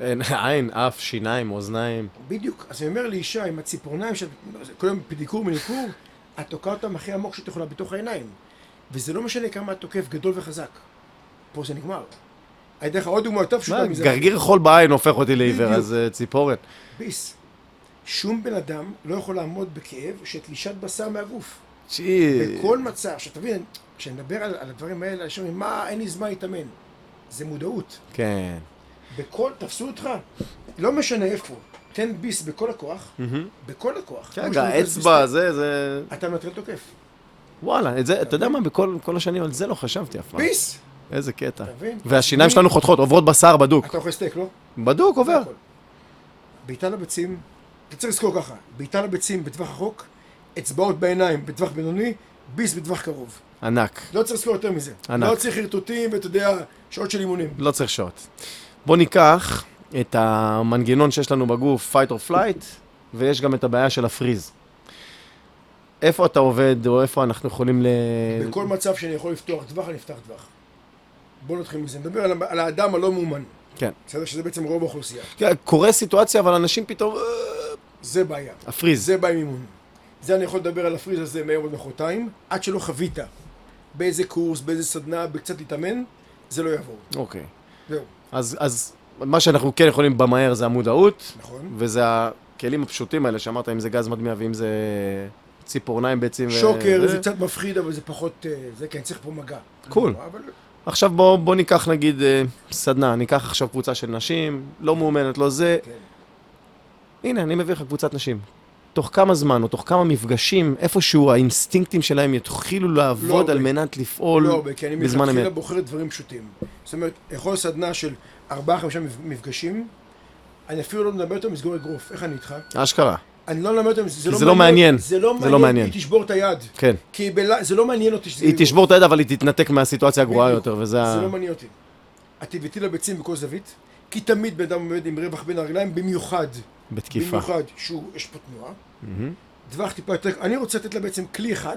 A: אין, עין, אף, שיניים, אוזניים.
B: בדיוק. אז אני אומר לאישה עם הציפורניים, שאת כל היום פדיקור מניקור, את תוקעת אותם הכי עמוק שאת יכולה בתוך העיניים. וזה לא משנה כמה את תוקף גדול וחזק. פה זה נגמר. אני אתן לך עוד דוגמה יותר
A: מה,
B: פשוטה מזה.
A: גרגיר חול בעין הופך אותי לעיוור,
B: בדיוק.
A: אז אה, ציפורן.
B: ביס. שום בן אדם לא יכול לעמוד בכאב של תלישת בשר מהגוף.
A: צ'י.
B: בכל מצב, שתבין, כשאני מדבר על, על הדברים האלה, אנשים אומרים, מה, אין לי זמן להתאמן. זה מודעות.
A: כן.
B: בכל, תפסו אותך, לא משנה איפה, תן ביס בכל הכוח, בכל הכוח. לא
A: רגע,
B: משנה,
A: כן, האצבע,
B: ביס-
A: זה, זה...
B: אתה מנטרל תוקף.
A: וואלה, את זה, אתה יודע מה, בכל כל השנים על זה לא חשבתי אף פעם.
B: ביס!
A: איזה קטע.
B: אתה מבין?
A: והשיניים
B: מי-
A: שלנו חותכות, עוברות בשר בדוק.
B: אתה אוכל סטייק, לא?
A: בדוק עובר.
B: הכל. בעיטה לביצים, אתה צריך לזכור ככה, בעיטה לביצים בטווח רחוק, אצבעות בעיניים בטווח בינוני, ביס בטווח קרוב.
A: ענק.
B: לא צריך לזכור יותר מזה.
A: ענק.
B: לא צריך חרטוטים ואתה יודע, שעות של אימונים.
A: לא צריך שעות. בוא ניקח את המנגנון שיש לנו בגוף, fight or flight, ויש גם את הבעיה של הפריז. איפה אתה עובד, או איפה אנחנו יכולים ל... אה.
B: בכל מצב שאני יכול לפתוח טווח, אני אפתח טווח. בוא נתחיל מזה. נדבר על, על האדם הלא מאומן.
A: כן.
B: בסדר? שזה בעצם רוב האוכלוסייה.
A: כן, קורה סיטואציה, אבל אנשים פתאום... אה,
B: זה בעיה.
A: הפריז.
B: זה בא עם אימון. זה אני יכול לדבר על הפריז הזה מהיום עד מחרתיים, עד שלא חווית באיזה קורס, באיזה סדנה, בקצת להתאמן, זה לא יעבור.
A: אוקיי.
B: זהו,
A: אז, אז מה שאנחנו כן יכולים במהר זה המודעות,
B: נכון?
A: וזה הכלים הפשוטים האלה שאמרת, אם זה גז מדמיע ואם זה ציפורניים ביצים. ו-
B: שוקר
A: זה.
B: זה קצת מפחיד, אבל זה פחות... אה, זה כן, צריך פה מגע.
A: קול.
B: אבל
A: עכשיו בוא, בוא ניקח נגיד אה, סדנה, ניקח עכשיו קבוצה של נשים, לא מאומנת, לא זה.
B: כן.
A: הנה, אני מביא לך קבוצת נשים. תוך כמה זמן או תוך כמה מפגשים, איפשהו האינסטינקטים שלהם יתחילו לעבוד
B: לא הרבה.
A: על מנת לפעול
B: לא הרבה, כי אני
A: בזמן אמת.
B: מלכתחילה בוחר דברים פשוטים. זאת אומרת, יכול סדנה של 4-5 מפגשים, אני אפילו לא מדבר יותר מסגור אגרוף, איך אני איתך?
A: אשכרה,
B: אני לא מלמד אותם, זה,
A: זה לא מעניין.
B: זה לא
A: זה
B: מעניין,
A: לא מעניין.
B: היא תשבור את היד.
A: כן.
B: כי בלה, זה לא מעניין אותי שזה...
A: היא תשבור את היד אבל היא תתנתק מהסיטואציה הגרועה
B: בדיוק.
A: יותר, וזה... ה-
B: זה לא מעניין אותי. הטבעתי לביצים בכל זווית, כי תמיד בן אדם עומד עם רווח בין הרגליים, במיוחד.
A: בתקיפה.
B: במיוחד שהוא, יש פה תנועה.
A: מהמם.
B: טווח טיפה יותר, אני רוצה לתת לה בעצם כלי אחד.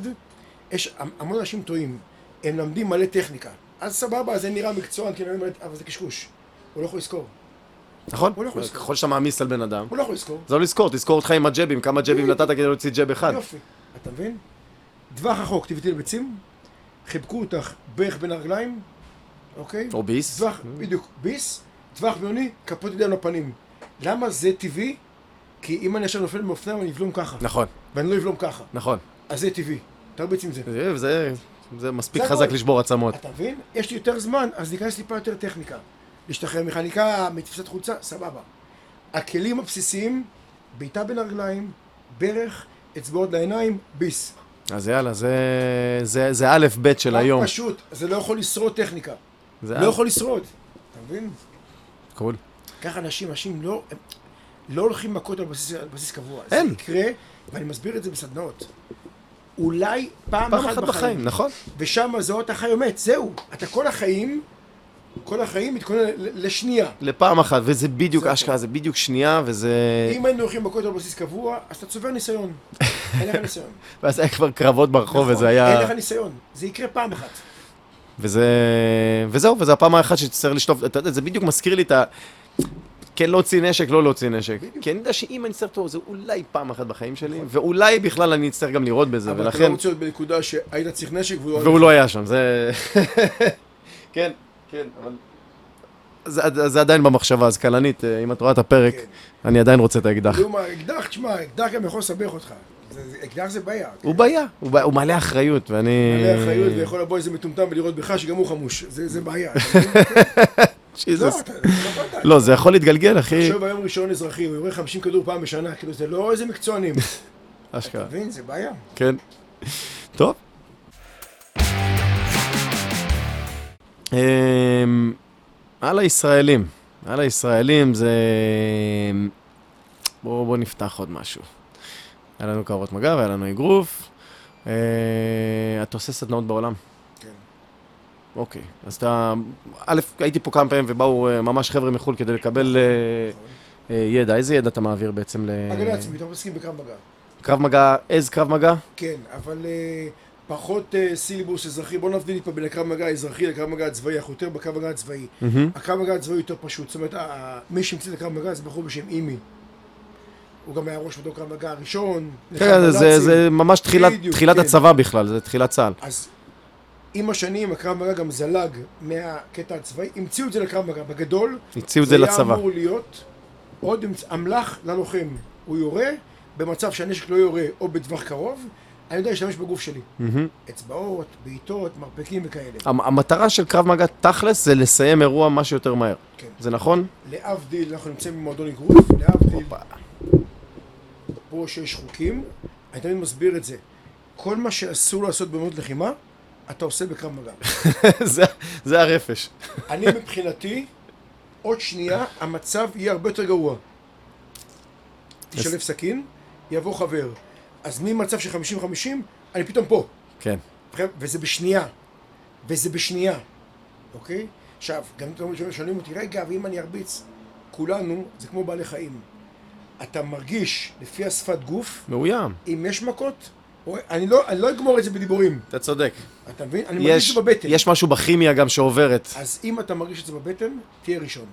B: יש המ- המון אנשים טועים, הם למדים מלא טכניקה. אז סבבה, אז זה נראה מקצוען, כאילו, אבל זה קשקוש. הוא לא יכול לזכור.
A: נכון?
B: הוא לא יכול לזכור.
A: ככל שאתה מעמיס על בן אדם.
B: הוא לא יכול לזכור.
A: זה לא לזכור, תזכור אותך עם הג'בים, כמה ג'בים נתת כדי להוציא ג'ב אחד.
B: יופי. אתה מבין? טווח החוק, תבעטי לביצים, חיבקו אותך בערך בין הרגליים, אוקיי?
A: או ביס.
B: טווח, בדיוק, ביס, טווח בינוני, כפות ידיים לפנים. למה זה טבעי? כי אם אני עכשיו נופל מאופניים אני אבלום ככה,
A: נכון,
B: ואני לא אבלום ככה,
A: נכון.
B: אז זה טבעי. תרביץ עם זה.
A: זה- זה- זה מספיק
B: זה
A: חזק
B: הכל.
A: לשבור עצמות.
B: אתה מבין? יש לי יותר זמן, אז ניכנס טיפה יותר טכניקה. להשתחרר מחניקה, מתפיסת חולצה, סבבה. הכלים הבסיסיים, בעיטה בין הרגליים, ברך, אצבעות לעיניים, ביס.
A: אז יאללה, זה- זה זה א' ב' של היום.
B: אה, פשוט, זה לא יכול לשרוד טכניקה.
A: זה
B: לא יכול לשרוד. אתה מבין?
A: קול.
B: ככה אנשים, אנשים לא, הם לא הולכים מכות על בסיס, על בסיס קבוע.
A: אין.
B: זה יקרה, ואני מסביר את זה בסדנאות. אולי פעם,
A: פעם אחת בחיים, נכון?
B: ושם זהות החי ומת, זהו. אתה כל החיים, כל החיים מתכונן ל- לשנייה.
A: לפעם אחת, וזה בדיוק
B: זה הכל.
A: אשכרה, זה בדיוק שנייה, וזה...
B: אם היינו הולכים מכות על בסיס קבוע, אז אתה צובר ניסיון. אין לך ניסיון.
A: ואז היה כבר קרבות ברחוב,
B: נכון,
A: וזה היה...
B: אין לך ניסיון. זה יקרה פעם אחת.
A: וזה... וזהו, וזו הפעם האחת שתצטרך לשטוף, אתה יודע, זה בדיוק מזכיר לי את ה... כן להוציא נשק, לא להוציא נשק. כי אני יודע שאם אני אצטרך אותו, זה אולי פעם אחת בחיים שלי, ואולי בכלל אני אצטרך גם לראות בזה,
B: אבל אתה
A: ולכן...
B: לא רוצה להיות בנקודה שהיית צריך נשק והוא...
A: והוא לא היה שם, זה... כן, כן, אבל... זה, זה- זה עדיין במחשבה, אז כלנית, אה, אם את רואה את הפרק,
B: כן.
A: אני עדיין רוצה את האקדח.
B: כלום, האקדח, תשמע, אקדח גם יכול לסבך אותך. זה- זה- אקדח זה בעיה.
A: הוא בעיה, הוא, בעיה, הוא מלא אחריות, ואני...
B: מלא אחריות, ויכול לבוא איזה מטומטם ולראות בך שגם הוא חמוש. זה זה בעיה. לא,
A: Jesus.
B: אתה- זה לא בעיה.
A: לא, זה יכול להתגלגל, אחי.
B: תחשוב היום ראשון אזרחי, הוא יורה 50 כדור פעם בשנה, כאילו זה לא איזה מקצוענים. אתה
A: אשכרה,
B: מבין? זה בעיה.
A: כן. טוב. אמ, על הישראלים. על הישראלים זה... בואו בוא נפתח עוד משהו. היה לנו קרבות מגע והיה לנו אגרוף. אה, אתה עושה סדנאות בעולם?
B: כן.
A: אוקיי. אז אתה... א', הייתי פה כמה פעמים ובאו אה, ממש חבר'ה מחו"ל כדי לקבל אה,
B: נכון.
A: אה, ידע. איזה ידע אתה מעביר בעצם ל...
B: הגנה עצמית, אנחנו מתעסקים בקרב מגע.
A: קרב מגע, עז קרב מגע?
B: כן, אבל אה, פחות אה, סילבוס אזרחי. בוא נבדיל פה בין הקרב מגע האזרחי לקרב מגע הצבאי, אנחנו יותר בקרב מגע הצבאי. הקרב מגע הצבאי הוא יותר פשוט. זאת אומרת, ה- ה- מי שהמציא את הקרב מגע זה בחור בשם אימי. הוא גם היה ראש מדור קרב מגע הראשון.
A: כן, זה- זה-
B: לחמדנאצים.
A: זה ממש תחילת-
B: לא בדיוק,
A: תחילת
B: כן.
A: הצבא בכלל, זה תחילת צה"ל.
B: אז עם השנים הקרב מגע גם זלג מהקטע הצבאי, המציאו את זה לקרב מגע. בגדול,
A: הציעו את זה
B: היה
A: לצבא.
B: אמור להיות עוד אמצ- אמל"ח ללוחם. הוא יורה במצב שהנשק לא יורה או בטווח קרוב, אני יודע להשתמש בגוף שלי.
A: מהמם.
B: אצבעות, בעיטות, מרפקים וכאלה.
A: המ- המטרה של קרב מגע תכלס זה לסיים אירוע מה שיותר מהר.
B: כן.
A: זה נכון?
B: להבדיל, אנחנו נמצאים במועדון אגרוף, להבדיל, פה שיש חוקים, אני תמיד מסביר את זה. כל מה שאסור לעשות במות לחימה, אתה עושה בקרב מגע.
A: זה- זה הרפש.
B: אני מבחינתי, עוד שנייה, המצב יהיה הרבה יותר גרוע. תשלב סכין, יבוא חבר. אז ממצב של 50-50, אני פתאום פה.
A: כן.
B: וזה בשנייה. וזה בשנייה, אוקיי? עכשיו, גם אתם לא שואלים אותי, רגע, ואם אני ארביץ? כולנו, זה כמו בעלי חיים. אתה מרגיש, לפי השפת גוף,
A: מאוים.
B: אם יש מכות, או- אני לא, אני לא אגמור את זה בדיבורים.
A: אתה צודק.
B: אתה מבין? אני מרגיש את
A: יש,
B: זה בבטן.
A: יש משהו בכימיה גם שעוברת,
B: אז אם אתה מרגיש את זה בבטן, תהיה ראשון.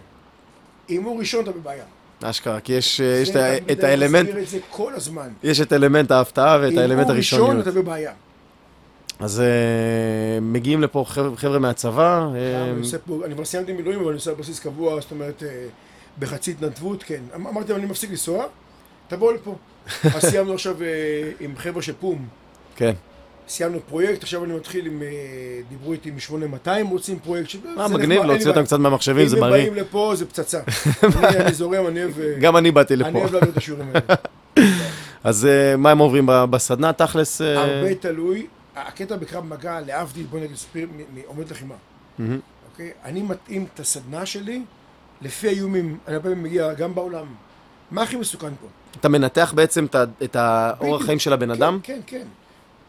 B: אם הוא ראשון, אתה בבעיה.
A: אשכרה, כי יש, אה, יש את
B: זה,
A: ה-
B: תמיד
A: את
B: אני
A: האלמנט,
B: מסביר את זה כל הזמן.
A: יש את אלמנט ההפתעה ואת האלמנט
B: אם הוא
A: הראשון. אמ-
B: ראשון, אתה בבעיה.
A: אז אה, מגיעים לפה חבר'ה חבר'ה מהצבא, אה,
B: אני עושה פה- אני כבר סיימתי מילואים, אבל אני עושה על בסיס קבוע, זאת אומרת, אה, בחצי התנדבות, כן. אמ- אמרתי, אבל אני מפסיק לנסוע, תבואו לפה. אז סיימנו עכשיו אה, עם חבר'ה של פום.
A: כן.
B: סיימנו פרויקט, עכשיו אני מתחיל עם... אה, דיברו איתי עם 8200, רוצים פרויקט ש...
A: מה אה, מגניב להוציא אותם קצת מהמחשבים, זה
B: אם הם
A: בריא.
B: באים לפה, זה פצצה. אני אני זורם, אני אוהב... אה,
A: גם אני באתי
B: אני
A: לפה.
B: אוהב להעביר את השיעורים האלה.
A: אז אה, מה הם עוברים ב- בסדנה תכלס? אה,
B: הרבה תלוי, הקטע בקרב מגע, להבדיל, בוא נגיד, ספיר, מ- מעומד לחימה.
A: מהמם.
B: אוקיי? אני מתאים את הסדנה שלי לפי האיומים, אני הרבה פעמים מגיע גם בעולם. מה הכי מסוכן פה?
A: אתה מנתח בעצם את ה- את האורח
B: בדיוק.
A: חיים של הבן
B: כן,
A: אדם?
B: כן, כן.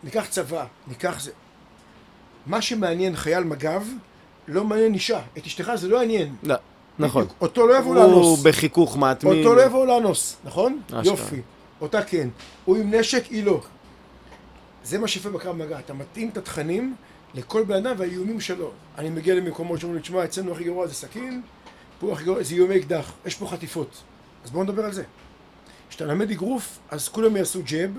B: ניקח צבא, ניקח זה. מה שמעניין חייל מג"ב, לא מעניין אישה. את אשתך זה לא יעניין.
A: לא, נכון.
B: בדיוק. אותו לא יבואו
A: הוא
B: לאנוס.
A: בחיכוך מתמיד.
B: אותו לא יבואו לאנוס, נכון?
A: אשכרה.
B: יופי. אותה כן. הוא עם נשק, היא לא. זה מה שיפה בקרב מגע. אתה מתאים את התכנים לכל בן אדם והאיומים שלו. אני מגיע למקומות שאומרים לי, תשמע, אצלנו הכי גרוע זה סכין, פה הכי גרוע זה איומי אקדח, יש פה חטיפות. אז בואו נדבר על זה. כשאתה למד אגרוף, אז כולם יעשו ג'ב,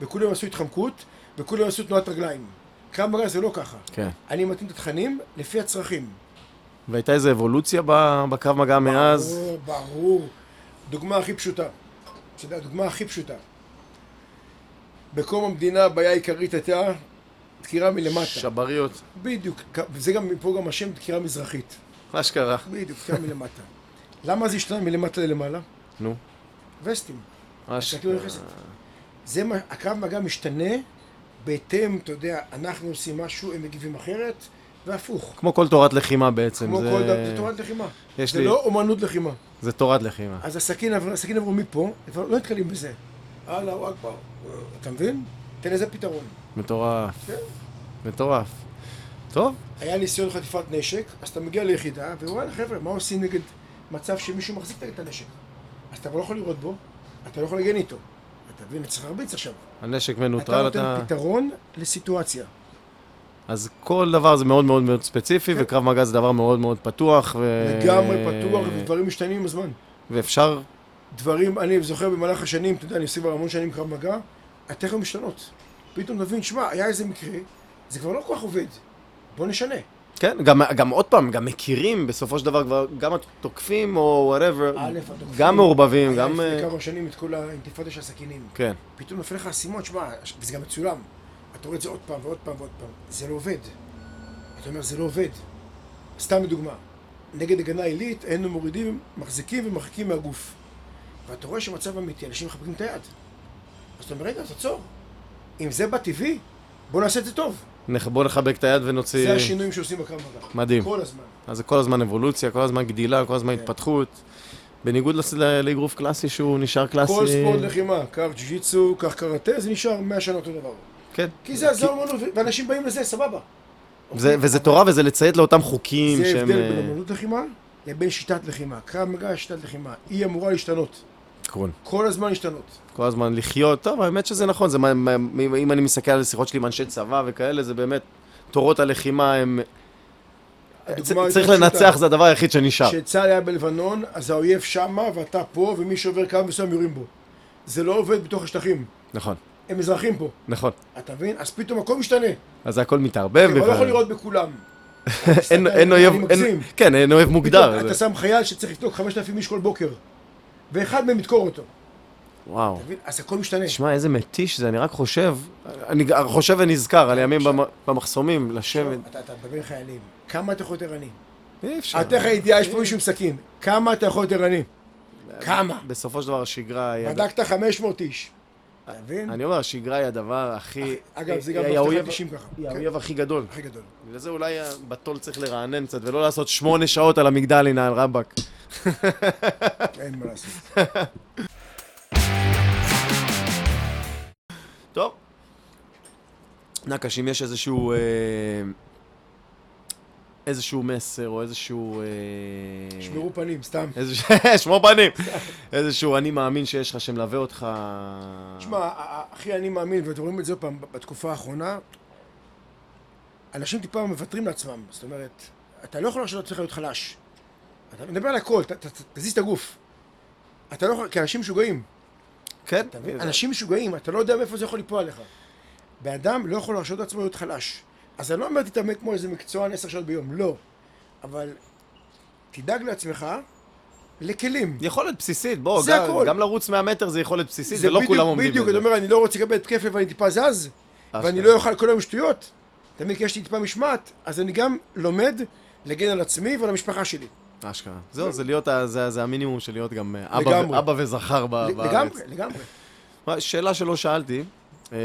B: וכולם יעשו התחמקות, וכולם יעשו תנועת רגליים. קרב מגע זה לא ככה.
A: כן.
B: אני מתאים את התכנים לפי הצרכים.
A: והייתה איזו אבולוציה ב- בקרב מגע מאז?
B: ברור, ברור. דוגמה הכי פשוטה. אתה יודע, הדוגמה הכי פשוטה. בקום המדינה הבעיה העיקרית הייתה דקירה מלמטה.
A: שבריות.
B: בדיוק. וזה גם, מפה גם השם דקירה מזרחית.
A: אשכרה.
B: בדיוק, דקירה מלמטה. למה זה השתנה מלמטה ללמעלה?
A: נו.
B: וסטים.
A: אשכרה.
B: תסתכלו על החסד. זה מה, הקרב מגע משתנה בהתאם, אתה יודע, אנחנו עושים משהו, הם מגיבים אחרת, והפוך.
A: כמו כל תורת לחימה בעצם.
B: כמו
A: זה-
B: כל דבר, זה תורת לחימה.
A: יש
B: זה
A: לי-
B: לא אומנות לחימה.
A: זה תורת לחימה.
B: אז הסכין עברו, הסכין עברו מפה, כבר לא נתקלים בזה. אללה אכבר. אתה מבין? תן לזה פתרון.
A: מטורף.
B: כן.
A: מטורף. טוב.
B: היה ניסיון חטיפת נשק, אז אתה מגיע ליחידה, וואלה חבר'ה, מה עושים נגד מצב שמישהו מחזיק את הנשק? אז אתה לא יכול לראות בו, אתה לא יכול להגן איתו. אתה מבין? אתה צריך להרביץ עכשיו.
A: הנשק
B: אתה
A: מנוטרל,
B: נותן
A: אתה...
B: פתרון לסיטואציה.
A: אז כל דבר זה מאוד מאוד מאוד ספציפי,
B: כן.
A: וקרב מגע זה דבר מאוד מאוד פתוח. ו-
B: לגמרי פתוח, ודברים משתנים עם הזמן.
A: ואפשר...
B: דברים, אני זוכר במהלך השנים, אתה יודע, אני עושה כבר המון שנים קרב מגע, הטכניות משתנות. פתאום נבין, שמע, היה איזה מקרה, זה כבר לא כל כך עובד. בוא נשנה.
A: כן, גם, גם עוד פעם, גם מכירים, בסופו של דבר כבר, גם התוקפים או וואטאבר,
B: א', התוקפים.
A: גם מעורבבים,
B: היה
A: גם... אה,
B: לפני כמה שנים את כל האינתיפאדה של הסכינים.
A: כן,
B: פתאום נופל לך אסימון, שמע, וזה גם מצולם. אתה רואה את זה עוד פעם ועוד פעם ועוד פעם. זה לא עובד. אתה אומר, זה לא עובד. סתם לדוגמה, נגד הגנה עילית, היינו מורידים, מחזיקים ומרחיקים מהגוף. ואתה רואה שמצב אמיתי, אנשים מחבקים את היד. אז אתה אומר, רגע, תעצור. אם זה בטבעי, בוא נעשה את זה טוב.
A: נח- בוא נחבק את היד ונוציא...
B: זה השינויים שעושים בקרב מגע.
A: אה. מדהים.
B: כל כן. הזמן.
A: אז זה כל הזמן אבולוציה, כל הזמן גדילה, כל הזמן התפתחות. בניגוד לס- ל- לאגרוף קלאסי שהוא נשאר קלאסי.
B: כל ספורט לחימה, קח ג'ו-ג'יצו, קח קראטה, זה נשאר 100 שנה אותו דבר.
A: כן.
B: כי זה זה אומנות, ואנשים באים לזה, סבבה.
A: זה, וזה תורה וזה לציית לאותם חוקים
B: זה
A: שהם...
B: הבדל
A: אה,
B: בין אומנות לחימה לבין שיטת לחימה. קרב מגע שיטת לחימה. היא אמורה להשתנות.
A: עקרון.
B: כל הזמן להשתנות.
A: כל הזמן לחיות. טוב, האמת שזה נכון, זה, מה- מה- אם אם אני מסתכל על שיחות שלי עם אנשי צבא וכאלה, זה באמת, תורות הלחימה הם... צ-
B: הדוגמה
A: צריך
B: היותר פשוטה.
A: לנצח, זה הדבר היחיד שנשאר.
B: כשצה"ל היה בלבנון, אז האויב שמה ואתה פה, ומי שעובר קו מסוים יורים בו. זה לא עובד בתוך השטחים,
A: נכון,
B: הם אזרחים פה.
A: נכון.
B: אתה מבין? אז פתאום הכל משתנה.
A: אז זה הכל מתערבב.
B: אתה לא
A: וכבר-
B: יכול לראות בכולם.
A: אין-
B: אתה-
A: אין
B: אני
A: אויב,
B: מגזים.
A: אין- כן, אין אויב מוגדר.
B: פתאום
A: זה-
B: אתה שם חייל שצריך לבדוק 5,000 איש כל בוקר, ואחד מהם ידקור אותו.
A: וואו.
B: אתה מבין? אז הכל משתנה.
A: תשמע, איזה מתיש זה, אני רק חושב, אני חושב ונזכר על ימים במחסומים, לשבת.
B: אתה אתה מדבר עם חיילים, כמה אתה יכול להיות ערני?
A: אי אפשר.
B: אני אתן לך ידיעה, יש פה מישהו עם סכין. כמה אתה יכול להיות ערני? כמה?
A: בסופו של דבר השגרה היא... הד-
B: בדקת 500 איש. אתה מבין?
A: אני אומר, השגרה היא הדבר הכי...
B: אגב, זה גם
A: היא
B: באבטחת
A: האויב-
B: אישים ככה.
A: היא
B: כן.
A: האויב הכי גדול.
B: הכי גדול.
A: בגלל זה אולי הבטול צריך לרענן קצת, ולא לעשות שמונה שעות על המגדלינה על רבאק.
B: אין מה לעשות.
A: טוב. נקש, אם יש איזשהו... אה, איזשהו מסר, או איזשהו... אה,
B: שמרו פנים, סתם.
A: איזשהו... שמור פנים! איזשהו אני מאמין שיש לך שמלווה אותך...
B: תשמע, ה- ה- אחי, אני מאמין, ואתם רואים את זה עוד פעם ב- בתקופה האחרונה, אנשים טיפה מוותרים לעצמם. זאת אומרת, אתה לא יכול להרשות לעצמך להיות חלש. אתה מדבר על הכל, ת- ת- ת- תזיז את הגוף. אתה לא יכול, כי אנשים משוגעים.
A: כן,
B: אתה מבין?
A: זה-
B: אנשים משוגעים, אתה לא יודע מאיפה זה יכול ליפול עליך. בן אדם לא יכול להרשות לעצמו להיות חלש. אז אני לא אומר תתאמן כמו איזה מקצוען עשר שעות ביום, לא. אבל תדאג לעצמך לכלים.
A: יכולת בסיסית, בוא,
B: זה
A: גם-
B: הכל.
A: גם לרוץ 100 מטר זה יכולת בסיסית, ולא כולם עומדים
B: בדיוק,
A: בזה.
B: אתה אומר, אני לא רוצה לקבל התקף לב, אני טיפה זז, ואני
A: אשכרה.
B: לא אוכל כל היום שטויות. תמיד כי יש לי טיפה משמעת, אז אני גם לומד להגן על עצמי ועל המשפחה שלי.
A: אשכרה. זהו, זה להיות, ה- זה זה המינימום של להיות גם אה, אבא ו-
B: לגמרי.
A: אבא וזכר ב-
B: ל-
A: בארץ.
B: לגמרי, לגמרי.
A: מה, שאלה שלא שאלתי, אה,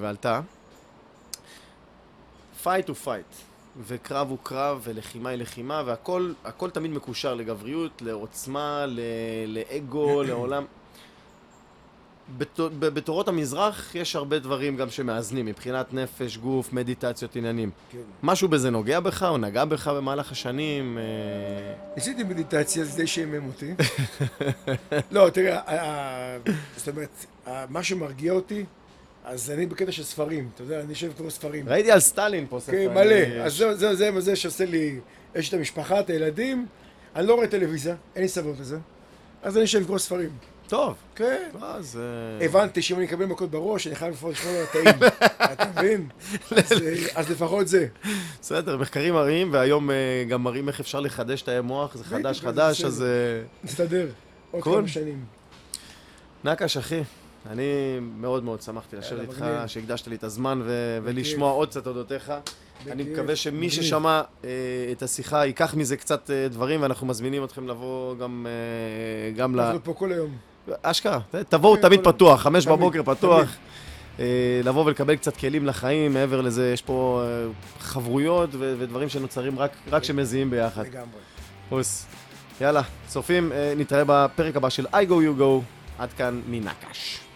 A: ועלתה. פייט הוא פייט, וקרב הוא קרב, ולחימה היא לחימה, והכל הכל תמיד מקושר לגבריות, לעוצמה, ל- לאגו, לעולם. בת- ב- בתורות המזרח יש הרבה דברים גם שמאזנים, מבחינת נפש, גוף, מדיטציות, עניינים.
B: כן.
A: משהו בזה נוגע בך, או נגע בך במהלך השנים? אה,
B: ניסיתי מדיטציה, זה די שעמם אותי. לא, תראה, ה- ה- זאת אומרת, ה- מה שמרגיע אותי, אז אני בקטע של ספרים, אתה יודע, אני יושב כבר ספרים.
A: ראיתי על סטלין פה ספר. אה,
B: כן, מלא. אז זה- זה זה- זה שעושה לי, יש את המשפחה, את הילדים, אני לא רואה טלוויזיה, אין לי סבלנות לזה, אז אני יושב לקרוא ספרים.
A: טוב.
B: כן.
A: אה, זה...
B: הבנתי שאם אני אקבל מכות בראש, אני חייב לפחות לשמור על הטעים. אתה מבין? אז, אה, אז לפחות זה.
A: בסדר, מחקרים מראים, והיום אה, גם מראים איך אפשר לחדש תאי מוח, זה חדש
B: בדיוק,
A: חדש,
B: בסדר.
A: אז... אה,
B: מסתדר. עוד
A: כל-
B: כמה שנים.
A: נקש, אחי, אני מאוד מאוד שמחתי לשבת
B: יאללה,
A: איתך,
B: מגניב.
A: שהקדשת לי את הזמן ו- ולשמוע עוד קצת אודותיך. אני
B: בכיף,
A: מקווה שמי
B: מגניב.
A: ששמע אה, את השיחה ייקח מזה קצת אה, דברים, ואנחנו מזמינים אתכם לבוא גם אה, גם ל...
B: אנחנו פה כל היום.
A: אשכרה, תבואו תמיד
B: כל-
A: פתוח, חמש
B: תמיד,
A: בבוקר פתוח. אה, לבוא ולקבל קצת כלים לחיים, מעבר לזה יש פה אה, חברויות ו- ודברים שנוצרים רק-
B: כן.
A: רק כשמזיעים ביחד.
B: לגמרי.
A: פוס. יאללה, צופים, אה, נתראה בפרק הבא של I Go You Go. עד כאן מנקש.